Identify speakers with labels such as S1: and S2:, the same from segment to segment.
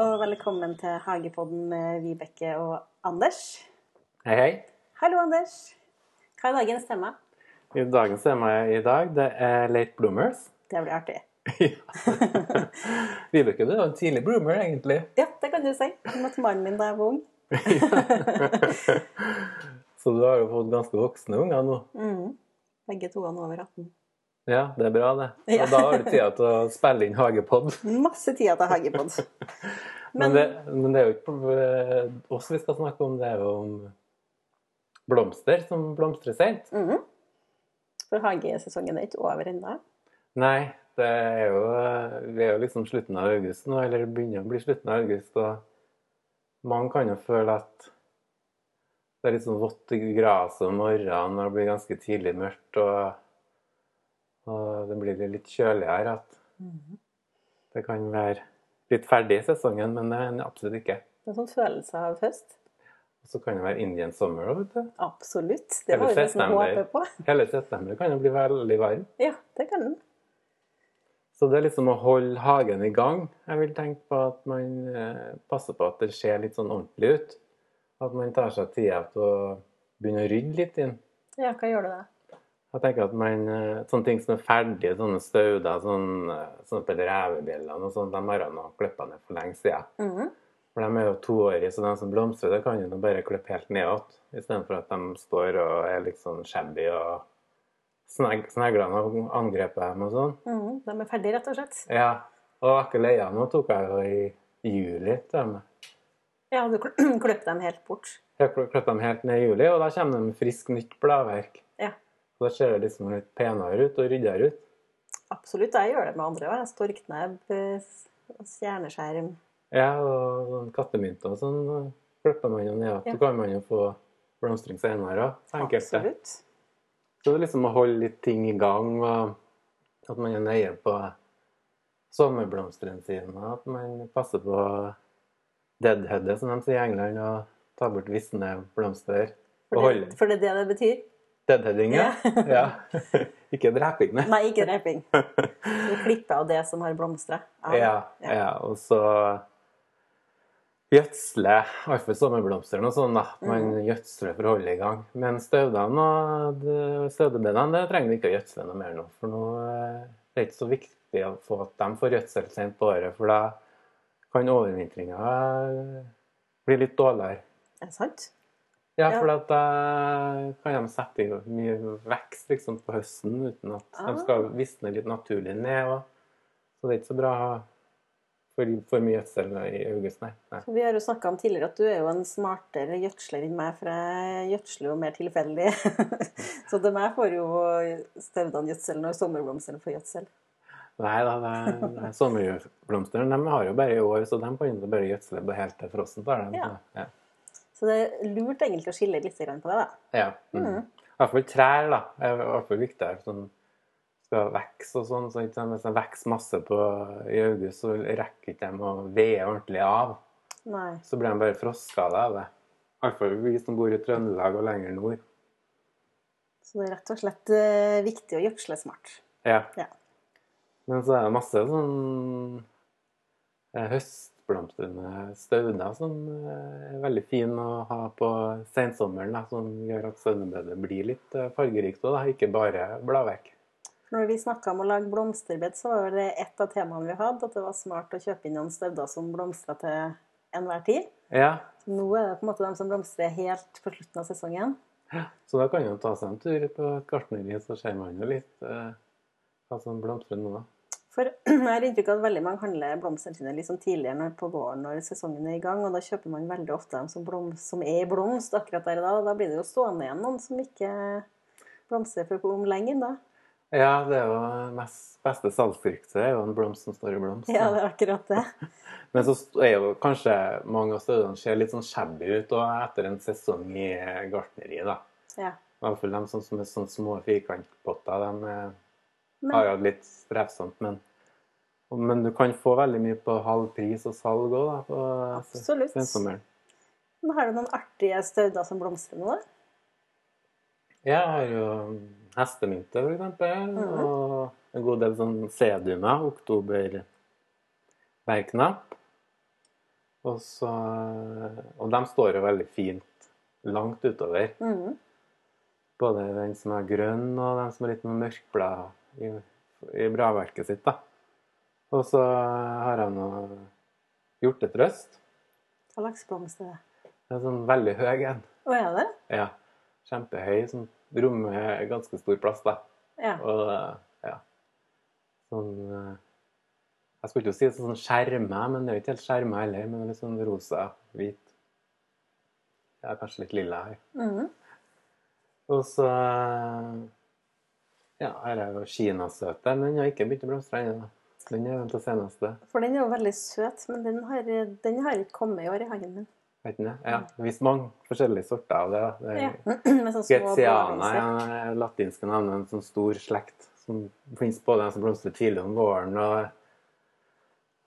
S1: og velkommen til Hagepodden med Vibeke og Anders.
S2: Hei, hei.
S1: Hallo, Anders. Hva er dagens tema?
S2: I dagens tema i dag, det er late bloomers.
S1: Det blir artig.
S2: Ja. Vibeke, du er jo en tidlig bloomer, egentlig.
S1: Ja, det kan du si. Jeg møtte mannen min da jeg var ung.
S2: Så du har jo fått ganske voksne unger nå.
S1: Mhm. Begge to er nå over 18.
S2: Ja, det er bra, det.
S1: Ja.
S2: Og da har du tida til å spille inn hagepod.
S1: Masse tid til Hagepodd.
S2: Men, det, men det er jo ikke eh, oss vi skal snakke om, det er jo om blomster som blomstrer sent.
S1: Mhm. For hagesesongen er ikke over ennå.
S2: Nei, det er jo Vi er jo liksom slutten av august nå, eller det begynner å bli slutten av august, og man kan jo føle at det er litt sånn vått i gresset om morgenen, og det blir ganske tidlig mørkt, og, og det blir litt kjøligere. At det kan være litt ferdig i sesongen, men det er den absolutt ikke.
S1: Det er sånn følelse av høst.
S2: Og så kan det være Indian summer òg, vet du.
S1: Absolutt. Det
S2: Er det
S1: var jo det som jeg
S2: september?
S1: håpet på.
S2: Hele september kan jo bli veldig varm.
S1: Ja, det kan den.
S2: Så det er liksom å holde hagen i gang. Jeg vil tenke på at man eh, passer på at det ser litt sånn ordentlig ut. At man tar seg tida til å begynne å rydde litt inn.
S1: Ja, hva gjør du da?
S2: Jeg tenker at man, eh, Sånne ting som er ferdige, sånne stauder, sånn, eh, sånn på revebjellene og sånn, de har jeg nå klippa ned for lenge siden.
S1: Mhm.
S2: For de er jo toårige, så de som blomstrer, det kan jo nå bare klippe helt nedåt. Istedenfor at de står og er litt sånn shabby og sneg, sneglene har angrepet dem og sånn.
S1: Mhm. De er ferdige, rett og slett.
S2: Ja, og akkurat leia nå tok jeg jo i juli til dem.
S1: Ja, du kl- kløp dem helt bort.
S2: Jeg kl- klippet dem helt ned i juli, og da kommer det med frisk nytt bladverk.
S1: Ja.
S2: Og da ser det liksom litt penere ut og ryddigere ut.
S1: Absolutt, jeg gjør det med andre òg. Storknebb, eh, stjerneskjerm
S2: Ja, og sånn kattemynt og sånn og klipper man jo ned,
S1: Ja.
S2: så kan man jo få blomstring senere også, enkelte.
S1: Absolutt.
S2: Så det er liksom å holde litt ting i gang, og at man er nøye på sommerblomstene sine, og at man passer på deadheadet, som de sier i England, og tar bort visne blomster. Og
S1: For
S2: holder
S1: det, for det er det det betyr.
S2: deadheading, ja. ja. ikke dreping, nei.
S1: Nei, ikke dreping. Du klipper av det som har blomstra.
S2: Ja, ja. Og så gjødsle, i hvert fall sommerblomstene og sånn, da. Man gjødsler for å holde i gang. Men støvdene og de- støvdebedene, det trenger vi ikke å gjødsle noe mer nå. For nå eh, det er ikke så viktig å få at de får gjødsel sent på året, for da kan overvintringa eh, bli litt dårligere.
S1: Er det sant? Ja.
S2: Ja, for at da kan de sette i gang mye vekst liksom, på høsten uten at
S1: Ah.
S2: de skal visne litt naturlig ned. Og, så det er ikke så bra å ha for, for mye gjødsel i august, nei. nei.
S1: Vi har jo snakka om tidligere at du er jo en smartere gjødsler enn meg, for jeg gjødsler jo mer tilfeldig. Så til meg får jo støvdene gjødsel når sommerblomstene får gjødsel.
S2: Nei da, det er- det er sommerblomstene Sånn de har jo bare i år, så de kan jo bare gjødsle på helt til frossen tar dem.
S1: Ja.
S2: Ja.
S1: Så det er lurt egentlig å skille litt grann på det, da.
S2: ja. Mm. I hvert fall trær, da. er i hvert fall viktigere. Sånn, skal vokse og sånn. Så ikke sant, hvis de vokser masse på, i august, så rekker ikke de å vede ordentlig av.
S1: Nei.
S2: så blir de bare froskada av det. I hvert fall vi som bor i Trøndelag og lenger nord.
S1: Så det er rett og slett eh, viktig å gjødsle smart.
S2: Ja.
S1: Ja.
S2: Men så er det masse sånn eh, høstblomstrende stauder som eh, er veldig fine å ha på sensommeren, da, som gjør at staudebedet blir litt eh, fargerikt òg, ikke bare bladverk.
S1: Når vi snakka om å lage blomsterbed, så var det et av temaene vi hadde, at det var smart å kjøpe inn noen støvder som blomstrer til enhver tid.
S2: Ja.
S1: Så nå er det på en måte de som blomstrer helt på slutten av sesongen.
S2: Så da kan man ta seg en tur på et gartneri, så ser man jo litt eh, hva som blomstrer nå, da.
S1: For jeg har inntrykk av at veldig mange handler blomstene sine litt sånn tidligere når, på våren når sesongen er i gang, og da kjøper man veldig ofte dem som, blom, som er i blomst akkurat der og da. og Da blir det jo stående igjen noen som ikke blomstrer for om lenge da.
S2: Ja, det er jo mest, beste salgsryktet. Det er jo en blomst som står i blomst.
S1: Ja, det er akkurat det.
S2: Men så er jo kanskje mange av stedene ser litt sånn shabby ut og etter en sesong i gartneri, da.
S1: Ja.
S2: I hvert fall de som, som er sånne små firkantpotter, de eh,
S1: Men-
S2: har jo det litt strevsomt, men men du kan få veldig mye på halv pris og salg òg, da. På
S1: Absolutt.
S2: sensommeren.
S1: Men har du noen artige stauder som blomstrer nå, da?
S2: Jeg har jo hestemynte, for eksempel,
S1: Mhm.
S2: og en god del sånn sedumer, oktoberverknapp. Og, så, og de står jo veldig fint langt utover.
S1: Mhm.
S2: Både den som er grønn, og den som er litt mer mørkblå i, i bladverket sitt. da. Og så har jeg noe hjortetrøst.
S1: Hva slags blomst er det?
S2: Det er sånn veldig høy en.
S1: Å, er det?
S2: Ja. Kjempehøy. Som rommer ganske stor plass, da.
S1: Ja.
S2: Og eh, ja. Sånn eh, Jeg skulle ikke si sånn skjerme, men det er jo ikke helt skjerme heller. Men det er litt sånn rosa, hvit. Ja, kanskje litt lilla her.
S1: Mhm.
S2: Og så eh, ja, her er jo kinasøteren. Den har ikke begynt å blomstre ennå. da. Den er den til seneste.
S1: For den er jo veldig søt, men den har, den har ikke kommet i år i hagen min.
S2: Vet ikke det? Ja, det finnes mange forskjellige sorter av det. da. det
S1: Ja.
S2: er,
S1: Med sånne små
S2: Gretiana
S1: blomster.
S2: er det latinske navnet, en sånn stor slekt som finnes både den som blomstrer tidlig om våren og,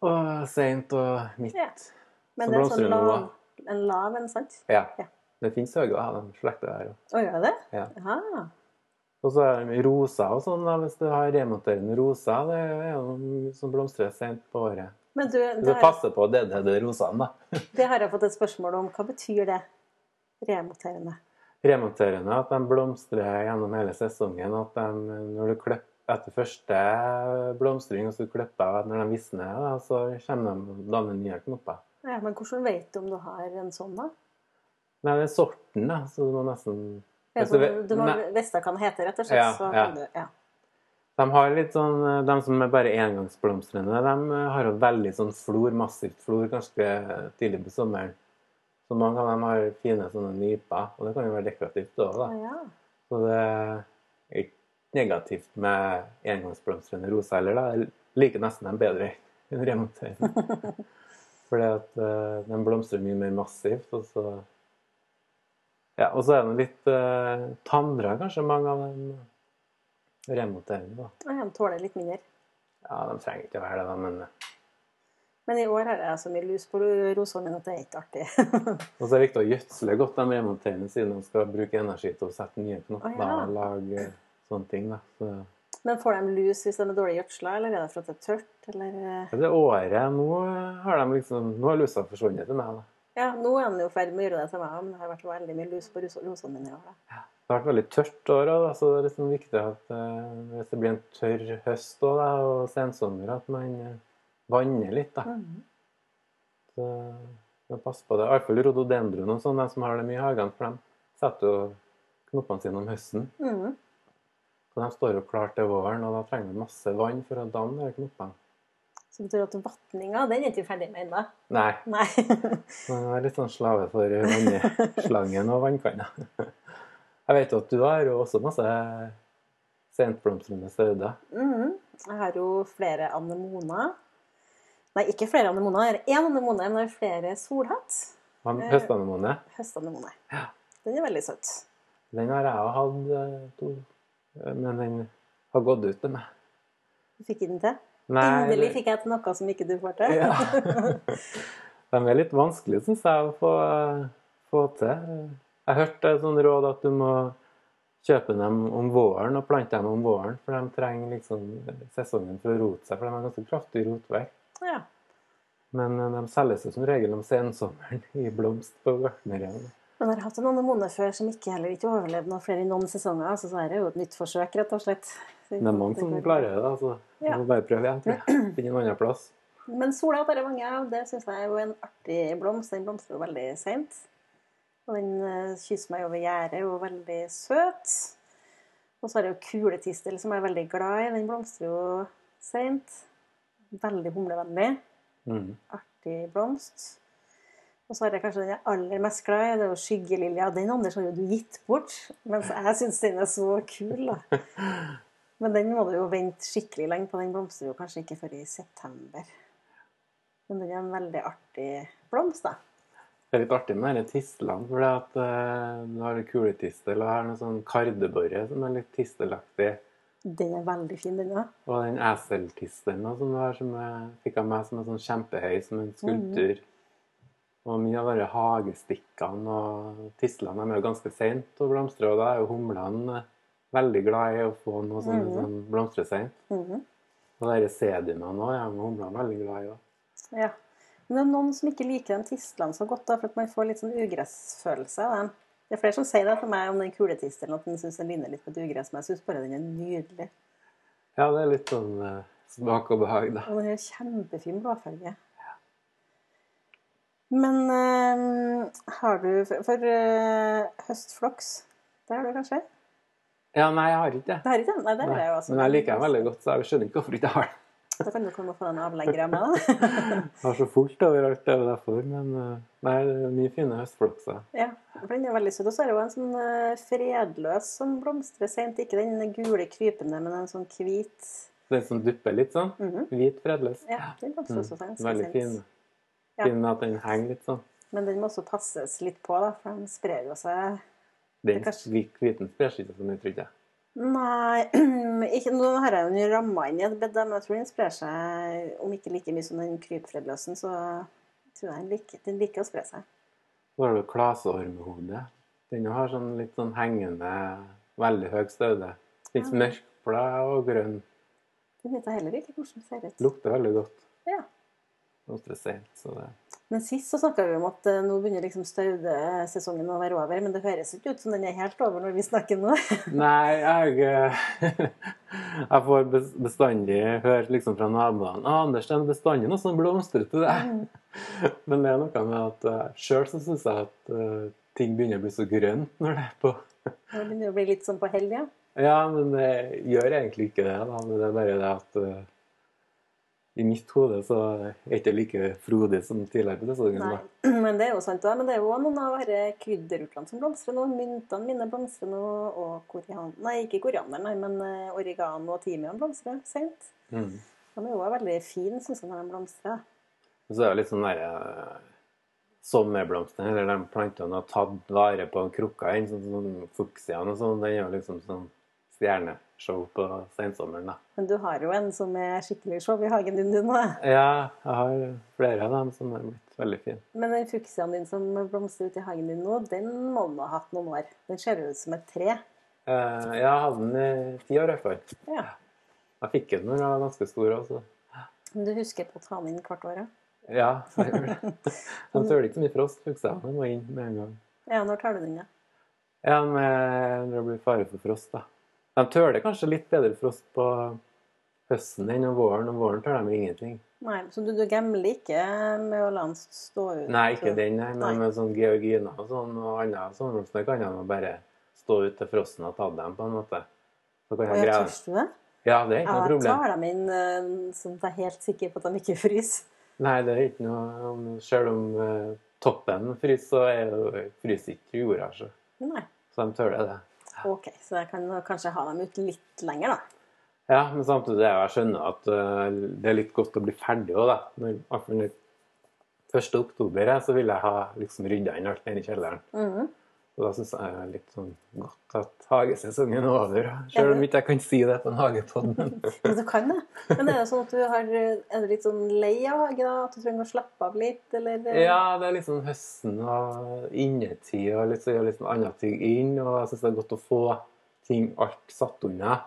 S2: og seint og midt.
S1: Ja. Men det er
S2: Så
S1: en
S2: blomster
S1: sånn
S2: det nå,
S1: lav, en, lav en, sant?
S2: Ja.
S1: Ja.
S2: Det finnes høye av den slekta der òg.
S1: Å, gjør det?
S2: Ja.
S1: Aha.
S2: Og så er det roser og sånn, da, hvis du har remonterende roser. Det er jo mye som blomstrer seint på året.
S1: Men du,
S2: Hvis
S1: det
S2: du
S1: har,
S2: passer på det, det, det rosene, da.
S1: det har jeg fått et spørsmål om. Hva betyr det? Remoterende.
S2: Remonterende, at de blomstrer gjennom hele sesongen. At de, når du klipper etter første blomstring, og så klipper av når de visner, da, så kommer de og danner nye knopper.
S1: Ja, men hvordan vet du om du har en sånn, da?
S2: Nei, det er sorten, da. Så du må nesten
S1: Ja,
S2: Hvis
S1: for
S2: du
S1: Du,
S2: vet-
S1: du må
S2: Nei.
S1: vite hva den heter, rett og slett.
S2: Ja,
S1: så
S2: ja.
S1: kan du, ja.
S2: De har litt sånn eh, De som er bare engangsblomstrende, de eh, har jo veldig sånn flor, massivt flor, ganske tidlig på sommeren. Så mange av dem har fine sånne nyper, og det kan jo være dekorativt òg, da.
S1: Ja.
S2: Så det er ikke negativt med engangsblomstrende roser heller, da. Jeg liker nesten dem bedre enn remontering. Fordi at eh, de blomstrer mye mer massivt, og så Ja, og så er de litt uh, tandra, kanskje, mange av de remonterende, da.
S1: Ja, De tåler litt mindre.
S2: Ja, de trenger ikke å være det, da, men eh,
S1: Men i år har jeg så mye lus på rosene mine at det er ikke artig.
S2: Og så er det viktig å gjødsle godt de remonterende, siden de skal bruke energi til å sette nye knopper
S1: Å, ja.
S2: og lage eh, sånne ting, da. Så
S1: Men får de lus hvis de er dårlig gjødsla, eller er det for at det er tørt? Eller... eh,
S2: Ja, Det året nå har de liksom Nå har lusa forsvunnet til meg. da.
S1: Ja, nå er den jo i ferd med å gjøre det til meg, men det har vært veldig mye lus på ros- rosene mine i år. Da.
S2: Det har vært veldig tørt år òg, så det er liksom viktig at eh, hvis det blir en tørr høst også, da, og sensommer, at man eh, vanner litt. da.
S1: Mhm.
S2: Så man passer på det. Iallfall rododendron og sånn, de som har det mye i hagen, for de setter jo knoppene sine om høsten.
S1: Mhm.
S2: Så de står jo klar til våren, og da trenger de masse vann for å danne de knoppene.
S1: Så betyr det at vatninga, den er ikke vi ferdig med ennå.
S2: Nei,
S1: Nei.
S2: Man er litt sånn slave for vannslangen og vannkanna. Jeg vet jo at du har jo også masse sentblomstrende stauder.
S1: Mhm. Jeg har jo flere anemoner. Nei, ikke flere anemoner. Jeg har én anemone, men jeg har flere solhatt.
S2: Han
S1: Eh.
S2: Høstanemone.
S1: Høstanemone.
S2: Ja.
S1: Den er veldig søt.
S2: Den har jeg jo hatt, eh, to, eh, men den har gått ut til meg.
S1: Du fikk den til?
S2: Nei,
S1: Endelig fikk jeg til noe som ikke du får til.
S2: Ja. De er litt vanskelige, syns jeg, å få, få til. Jeg hørte et sånt råd at du må kjøpe dem om våren og plante dem om våren, for de trenger liksom sesongen for å rote seg, for de har ganske kraftig rotverk.
S1: Ja.
S2: Men eh, de selges jo som regel om sensommeren i blomst på gartneriene.
S1: Men jeg har hatt en anemone før som ikke heller ikke overlevde noe flere enn noen sesonger. Altså, så er det jo et nytt forsøk, rett og slett. Så-
S2: Det er mange som
S1: går-
S2: klarer det, altså.
S1: Ja.
S2: Du må bare prøve igjen, tror jeg. Finne en annen plass.
S1: Men sola har bare mange, og det syns jeg er jo en artig blomst. Den blomstrer jo veldig seint. Og den eh, kysser meg over gjerdet, er jo veldig søt. Og så har jeg jo kuletistel, som jeg er veldig glad i. Den blomstrer jo seint. Veldig humlevennlig.
S2: Mm.
S1: artig blomst. Og så har jeg kanskje den jeg er aller mest glad i, det er jo skyggelilja. Den Anders har jo du gitt bort, mens jeg syns den er så kul, da. Men den må du jo vente skikkelig lenge på. Den blomstrer jo kanskje ikke før i september. Men den er en veldig artig blomst, da.
S2: Det er litt artig med disse tislene, for at eh, du har kuletistel og her noe sånn kardeborre som er litt tistelaktig.
S1: Den er veldig fin, den òg.
S2: Og den eseltistelen også, som du har, som jeg fikk av meg som er sånn kjempehøy, som en skulptur.
S1: Mhm.
S2: Og mye av de hagestikkene og tislene de er jo ganske seint å blomstre, og da er jo humlene eh, veldig glad i å få noe sånn
S1: Mhm.
S2: som blomstrer seint.
S1: Mhm.
S2: Og de her sediumene òg er jo humlene veldig glad i. også.
S1: Ja. Men det er noen som ikke liker de tistlene så godt, da, for at man får litt sånn ugressfølelse av dem. Det er flere som sier det til meg om den kuletistelen, at den syns den ligner litt på et ugress, men jeg syns bare den er nydelig.
S2: Ja, det er litt sånn eh, smak og behag, da.
S1: Og den har kjempefin blåfarge. Men eh, har du For, for eh, høstfloks, det har du kanskje?
S2: Ja, nei, jeg har ikke det.
S1: Det har ikke jeg. Nei, det har
S2: Nei,
S1: jeg jo også.
S2: Men jeg liker den veldig godt, så jeg skjønner ikke hvorfor jeg ikke har den.
S1: Da kan du komme og få den avlegger av meg, da.
S2: Jeg har så fullt overalt, det er jo derfor. Men eh, nei, det er mye fine høstflokser.
S1: Ja, for den er veldig søt. Og så er det jo en sånn eh, fredløs som blomstrer sent. Ikke den gule krypende, men en sånn hvit.
S2: Den som dupper litt sånn.
S1: Mhm.
S2: Hvit, fredløs.
S1: Ja, den blomstrer også sent.
S2: Mm, Veldig fin.
S1: Ja.
S2: Fin at den henger litt sånn.
S1: Men den må også passes litt på, da, for den sprer jo seg Det
S2: Den
S1: er kanskje-
S2: hvit- hviten sprer seg ikke så mye, tror jeg.
S1: Nei, ikke, nå har jeg jo den ramma inn i et bed, da, men jeg tror den sprer seg om ikke like mye som den krypfredløsen, så tror jeg den liker, den liker å spre seg.
S2: Så har du klaseormhode. Den har sånn litt sånn hengende, veldig høy staude.
S1: Ah.
S2: Litt mørkblad og grønn.
S1: Den vet jeg heller ikke hvordan den ser ut.
S2: Lukter veldig godt.
S1: Ja.
S2: Lukter sent, så det
S1: Men sist så snakka vi om at eh, nå begynner liksom staudesesongen å være over, men det høres ikke ut som den er helt over når vi snakker nå.
S2: Nei, jeg eh, Jeg får bes- bestandig høre liksom fra naboene ah, 'Anders, det er bestandig noe som blomstrer til deg.' Men det er noe med at uh, sjøl så syns jeg at eh, ting begynner å bli så grønt når det er på.
S1: Det begynner å bli litt sånn på hell, ja.
S2: Ja, men det gjør egentlig ikke det. da, men Det er bare det at eh, i mitt hode så er det ikke like frodig som tidligere på sesongen.
S1: Nei,
S2: da.
S1: men det er jo sant. da. Men det er jo også noen av disse krydderurtene som blomstrer nå. Myntene mine blomstrer nå, og korian... Nei, ikke koriander, nei, men eh, oregano og timian blomstrer sent.
S2: Mm.
S1: De er jo også veldig fine, syns jeg, når de blomstrer.
S2: Og så er det litt sånn derre eh, Sommerblomstene, eller de plantene har tatt vare på krukka inn, sånn som fuksiaen og sånn. Den er jo liksom sånn stjerneshow på sensommeren, da.
S1: Men du har jo en som er skikkelig show i hagen din, du nå.
S2: Ja, jeg har flere av dem som er blitt veldig fine.
S1: Men den fuksiaen din som blomstrer ute i hagen din nå, den må du ha hatt noen år. Den ser jo ut som et tre.
S2: Eh, jeg hadde den i ti år i hvert fall.
S1: Ja.
S2: Jeg fikk den når jeg var ganske stor også.
S1: Men du husker på å ta den inn hvert år, ja?
S2: Ja, jeg gjorde det. De tåler ikke så mye frost, fuksiaene. De må inn med en gang.
S1: Ja, når tar du den, ja?
S2: Ja, men når det blir fare for frost, da. De tøler kanskje litt bedre frost på høsten enn om våren. Om våren tøler de ingenting.
S1: Nei, så du, du gambler ikke med å la den stå ut?
S2: Nei, ikke den, nei.
S1: Nei.
S2: Men med sånn georgina og sånn og annet sommerblomster kan de bare stå ut til frosten har tatt dem, på en måte. Så kan
S1: Og
S2: jeg
S1: jeg
S2: greie
S1: tørster du det?
S2: Ja, det
S1: Ja,
S2: er ikke noe
S1: jeg
S2: problem.
S1: tar dem inn eh, sånn at jeg er helt sikker på at de ikke fryser.
S2: Nei, det er ikke noe om- Selv om eh, toppen fryser, så er jo- fryser ikke jorda, så.
S1: Nei.
S2: Så de tøler det.
S1: Ok, så jeg kan kanskje ha dem ut litt lenger, da.
S2: Ja, men samtidig er jeg skjønner at eh, det er litt godt å bli ferdig òg, da. Når, akkurat når 1. oktober er, så vil jeg ha liksom rydda inn alt nede i kjelleren.
S1: Mm.
S2: Og da syns jeg det er litt sånn godt at hagesesongen er over. Selv om ikke jeg kan si det på en hagepod. men-
S1: Men du kan det. Men er det sånn at du har, er du litt sånn lei av hage, da? At du trenger å slappe av litt, eller? eh?
S2: ja, det er litt sånn høsten og innetid og litt så gjør litt sånn andre ting inn. Og jeg syns det er godt å få ting alt satt unna.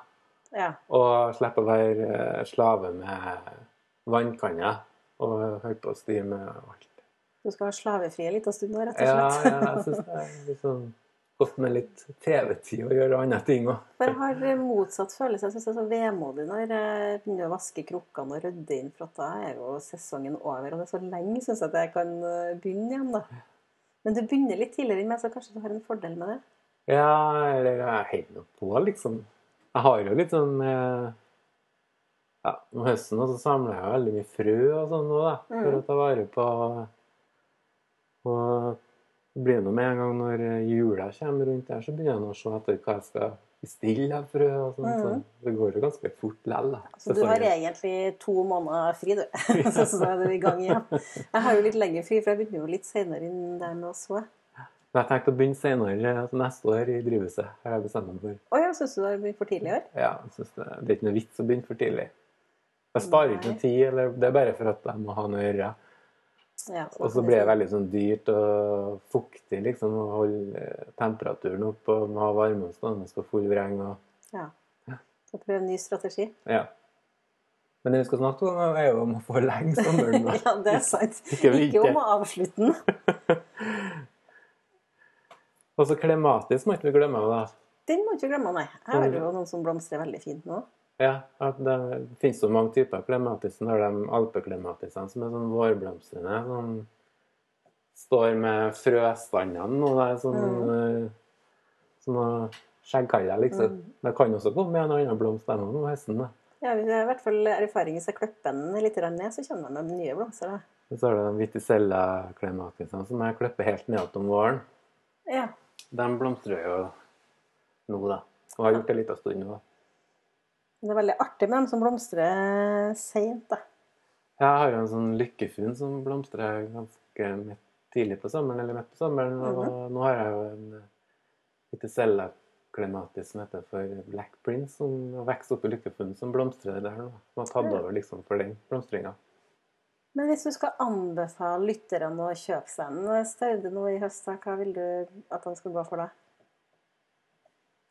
S1: ja.
S2: Og slippe å være eh, slave med vannkanner og holde på å styre med alt.
S1: Du skal ha slavefrie litt av stunden, rett og
S2: Ja,
S1: slett.
S2: ja, altså. jeg syns det er litt sånn godt med litt TV-tid og gjøre andre ting òg.
S1: For jeg har eh, motsatt følelse. Jeg syns det er så vemodig når jeg begynner å vaske krukkene og rydde inn, for at da er jo sesongen over. Og det er så lenge, syns jeg, at jeg kan eh, begynne igjen, da. Men du begynner litt tidligere enn meg, så kanskje du har en fordel med det.
S2: Ja, eller jeg holder nå på, liksom. Jeg har jo litt sånn eh, Ja, om høsten også samler jeg jo veldig mye frø og sånn nå, da. For å ta vare på Og det blir nå med en gang når jula kommer rundt der, så begynner jeg nå å se etter hva jeg skal bestille av frø og sånn. Så det går jo ganske fort lell, da.
S1: Så du har
S2: sesongen.
S1: egentlig to måneder fri, du. så, så er du i gang igjen. Jeg har jo litt lengre fri, for jeg begynner jo litt seinere enn deg med å så.
S2: Men jeg tenkte å begynne senere eh, neste år i drivhuset. Har jeg bestemt meg for.
S1: Å ja, syns du det har begynt for tidlig i år?
S2: Ja, jeg synes det, det er ikke noe vits å begynne for tidlig. Jeg sparer ikke
S1: Nei.
S2: noe tid, eller det er bare for at jeg må ha noe å gjøre.
S1: Ja,
S2: Og så blir det veldig sånn dyrt og fuktig, liksom, å holde eh, temperaturen oppe og må ha varme stående på full vreng og
S1: Ja. Så prøv en ny strategi.
S2: ja. Men det vi skal snakke om, er jo om å forlenge sommeren. da.
S1: Ja, det er sant.
S2: Ikke vite.
S1: Ikke om å avslutte den.
S2: Og så klematisk må ikke vi glemme det. da.
S1: Den må du ikke glemme, nei. Her har du jo noen som blomstrer veldig fint nå.
S2: Ja, at Det finnes så mange typer klematisk. Når de alpeklimatisene som er sånn vårblomstrende, som står med frøstandene og det er sånn mm. Sånne skjeggkaller, liksom. Det kan også komme med en annen blomst dem også om høsten. da.
S1: Ja, hvis det er i hvert fall erfaring hvis jeg klipper den litt grann ned, så kommer jeg med nye blomster. da.
S2: Og så har du de viticella-klematisene som jeg klipper helt ned om våren.
S1: Ja.
S2: De blomstrer jo nå, da. Og har gjort det en liten stund nå. da.
S1: Det er veldig artig med dem som blomstrer seint, da.
S2: Jeg har jo en sånn lykkefugl som blomstrer ganske midt, tidlig på sommeren, eller midt på sommeren. Og nå har jeg jo en viticella-klematis som heter for Black Prince, som har vokst opp i lykkefuglen, som blomstrer der nå. Som har tatt
S1: Ja.
S2: over liksom for den blomstringa.
S1: Men hvis du skal anbefale lytterne å kjøpe seg en eh, staude nå i høst, da, hva vil du at de skal gå for da?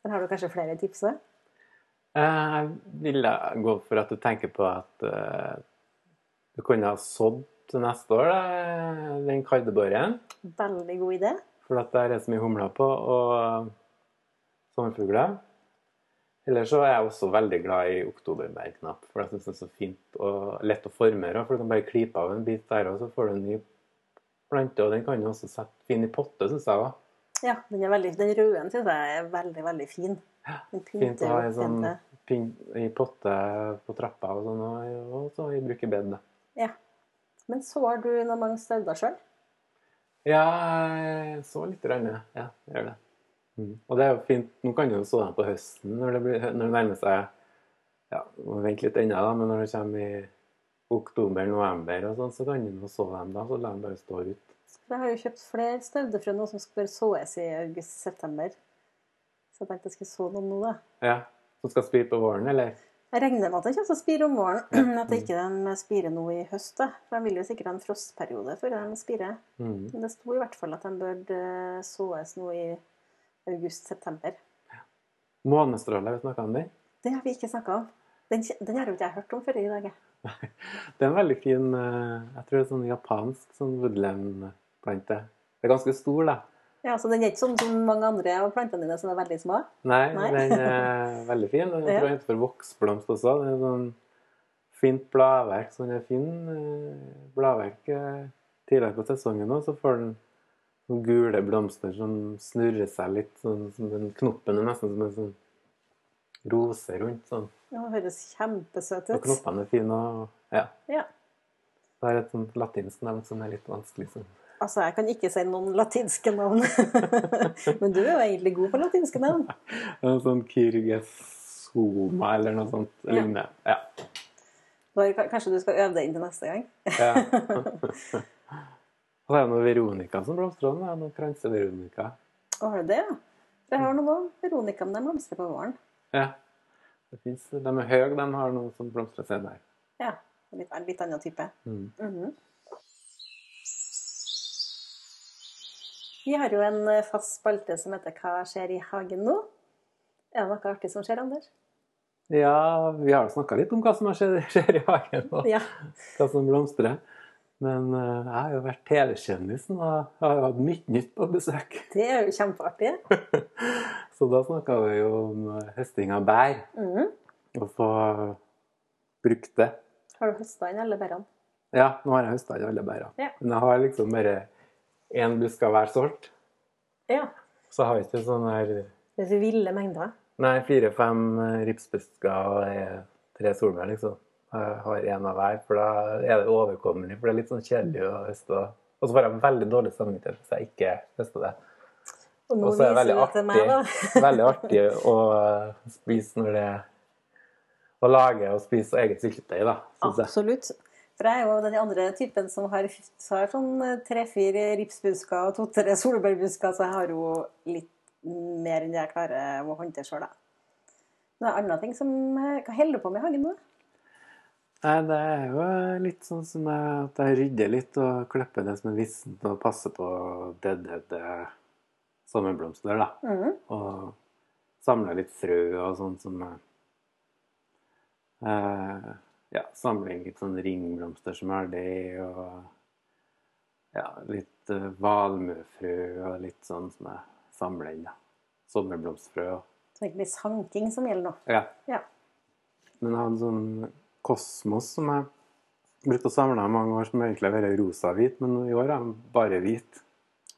S1: Der har du kanskje flere tips? da?
S2: Eh, Jeg ville gå for at du tenker på at eh, du kunne ha sådd til neste år da, den kardeboren.
S1: Veldig god idé.
S2: For at der er så mye humler på, og eh, sommerfugler. Ellers så er jeg også veldig glad i oktoberbergknapp, for jeg syns den er så fint og lett å forme. da, For du kan bare klype av en bit der, og så får du en ny plante. Og den kan du også sette fin i potte, syns jeg. da.
S1: Ja, den, er veldig, den røde syns jeg er veldig, veldig fin. Den
S2: Fint å
S1: pynter
S2: ha
S1: jo
S2: i sånn
S1: pent,
S2: pin- i potte på trappa og sånn, og- og så i brukebed. da.
S1: Ja. Men så har du noen mange stauder sjøl.
S2: Ja, jeg så litt grann, ja. ja. jeg Gjør det. Mm. Og det er jo fint. Nå kan du jo så dem på høsten når det, blir, når det nærmer seg Ja, må vente litt ennå, da, men når det kommer i oktober-november og sånn, så kan du nå så dem da. Så la dem bare stå ut.
S1: Jeg har jo kjøpt flere stauder fra noen som skal bare såes i august-september. Så jeg tenkte jeg skulle så noen nå, da.
S2: Ja. Som skal spire på våren, eller?
S1: Jeg regner med at den kommer til å spire om våren. At det ikke de spirer nå i høst. da. For De vil jo sikkert ha en frostperiode før de spirer.
S2: Mm.
S1: Men det sto i hvert fall at de bør eh, såes nå i august-september.
S2: Månestråle, har vi snakka om den?
S1: Det har vi ikke snakka om. Den, kje- den har jo ikke jeg hørt om før i dag. jeg.
S2: Det er en veldig fin eh, Jeg tror det er sånn japansk sånn woodland-plante. Det er ganske stor, da.
S1: Ja, så Den er ikke sånn som mange andre av plantene dine som er veldig små.
S2: Nei,
S1: Nei.
S2: den er veldig fin. Den
S1: Ja.
S2: tror jeg heter for voksblomst også. Det er sånn fint bladverk. Sånn er fin eh, bladverk eh, tidligere på sesongen òg, så får den sånne gule blomster som snurrer seg litt. Sånn, som den knoppen er nesten som en sånn rose rundt. sånn.
S1: Den høres kjempesøt
S2: Og
S1: ut.
S2: knoppene er fine. og ja.
S1: Ja.
S2: Det er et sånt latinsk navn som er litt vanskelig. Sånn.
S1: Altså, jeg kan ikke si noen latinske navn. Men du er jo egentlig god på latinske navn.
S2: En sånn kirgesoma eller noe sånt
S1: Ja.
S2: lignende. Ja.
S1: Du har- Kanskje du skal øve deg inn til neste gang?
S2: Ja. Og så er det noe Veronica som blomstrer òg. Noe kranse-Veronica.
S1: Å, har du det, ja? For jeg har noen òg. Veronica, men de blomstrer på våren.
S2: Ja. Det finnes, de er høye, de har noe som blomstrer senere.
S1: Ja. En litt, en litt annen type.
S2: Mm.
S1: Mhm. Vi har jo en eh, fast spalte som heter 'Hva skjer i hagen nå?' Er det noe artig som skjer, Anders?
S2: Ja, vi har snakka litt om hva som har skjedd, skjer i hagen, og
S1: Ja.
S2: hva som blomstrer. Men eh, jeg har jo vært TV-kjendis nå, og har jo hatt mye nytt på besøk.
S1: Det er jo kjempeartig.
S2: Så da snakka vi jo om eh, høsting av bær,
S1: Mhm.
S2: og få brukt det.
S1: Har du høsta inn alle bærene?
S2: Ja, nå har jeg høsta i alle bærene.
S1: Ja.
S2: Men jeg har liksom bare én busk av hver sort.
S1: Ja.
S2: Så har vi ikke sånn her
S1: Det er ville mengder.
S2: Nei, fire-fem eh, ripsbusker og eh, tre solbær, liksom. Jeg har én av hver, for da er det overkommelig. For det er litt sånn kjedelig å høste. og- Og så får jeg veldig dårlig samvittighet hvis jeg ikke høster det.
S1: Og nå
S2: Og så er det
S1: viser
S2: veldig
S1: du det til meg, da.
S2: artig, veldig artig å eh, spise når det Å lage og spise eget syltetøy, da, syns jeg.
S1: Absolutt. For jeg er jo den andre typen som har, har sånn tre-fire ripsbusker og to-tre solbærbusker, så jeg har jo litt mer enn jeg klarer å håndtere sjøl, da. Men det er andre ting som eh, Hva holder du på med i hagen nå?
S2: Nei, det er jo litt sånn som jeg, at jeg rydder litt og klipper det som er vissent, og passer på dødhette sommerblomster, da.
S1: Mhm.
S2: og samla litt frø og sånt som jeg eh, ja, samle inn litt sånn ringblomster som er det, og ja, litt eh, valmuefrø og litt sånn som jeg samler inn. da. Sommerblomstfrø. og-
S1: Så det er Sånn egentlig sanking som gjelder nå.
S2: Ja.
S1: Ja.
S2: Men jeg hadde sånn kosmos som jeg brukte å samle i mange år, som egentlig har vært rosa-hvit, men i år er den bare hvit.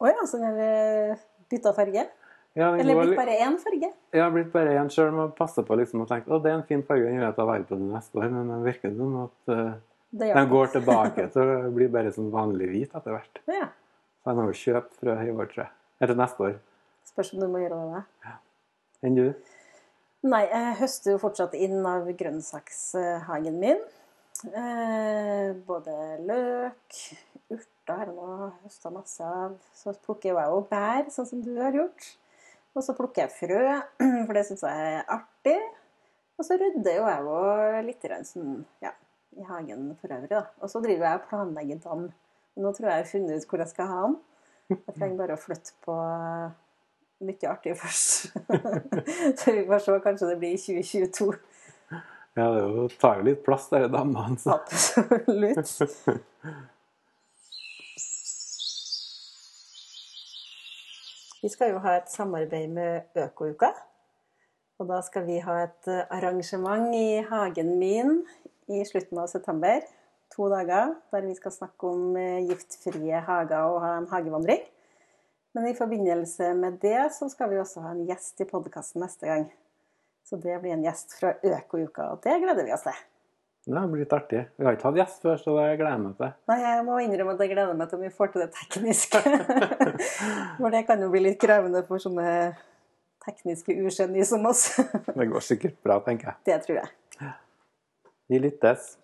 S1: Å ja, så den er bytta farge?
S2: Ja, den
S1: Eller
S2: går
S1: blitt
S2: litt-
S1: bare én farge?
S2: Jeg har blitt bare en sjøl med å passe på liksom, og tenke å, det er en fin farge, den gjør at jeg tar vare på den neste år. Men det virker som at eh,
S1: Det
S2: den går tilbake til å bli bare sånn vanlig hvit etter hvert.
S1: Ja.
S2: Så jeg må jo kjøpe frø i år, tror jeg. Eller neste år.
S1: Spørs om du må gjøre det.
S2: Enn du?
S1: Nei, jeg høster jo fortsatt inn av grønnsakshagen min. Eh, både løk, urter har jeg nå høsta masse av. Så plukker jeg jo bær, sånn som du har gjort. Og så plukker jeg frø, for det syns jeg er artig. Og så rydder jo jeg jo litt grann sånn, ja, i hagen for øvrig, da. Og så driver jeg og planlegger dam. Nå tror jeg jeg har funnet ut hvor jeg skal ha den. Jeg trenger bare å flytte på mye artig først. så vi får se, kanskje det blir i 2022.
S2: Ja, det er jo, tar jo litt plass, disse dammene. Så.
S1: Absolutt. Vi skal jo ha et samarbeid med Økouka. Og da skal vi ha et eh, arrangement i hagen min i slutten av september. To dager der vi skal snakke om eh, giftfrie hager og ha en hagevandring. Men i forbindelse med det så skal vi også ha en gjest i podkasten neste gang. Så det blir en gjest fra Økouka, og det gleder vi oss til.
S2: Det har blitt artig. Vi har ikke hatt gjest før, så det gleder jeg meg til.
S1: Nei, jeg må innrømme at jeg gleder meg til om vi får til det tekniske. For det kan jo bli litt krevende for sånne tekniske ugenier som oss.
S2: Det går sikkert bra, tenker jeg.
S1: Det tror jeg.
S2: Vi lyttes.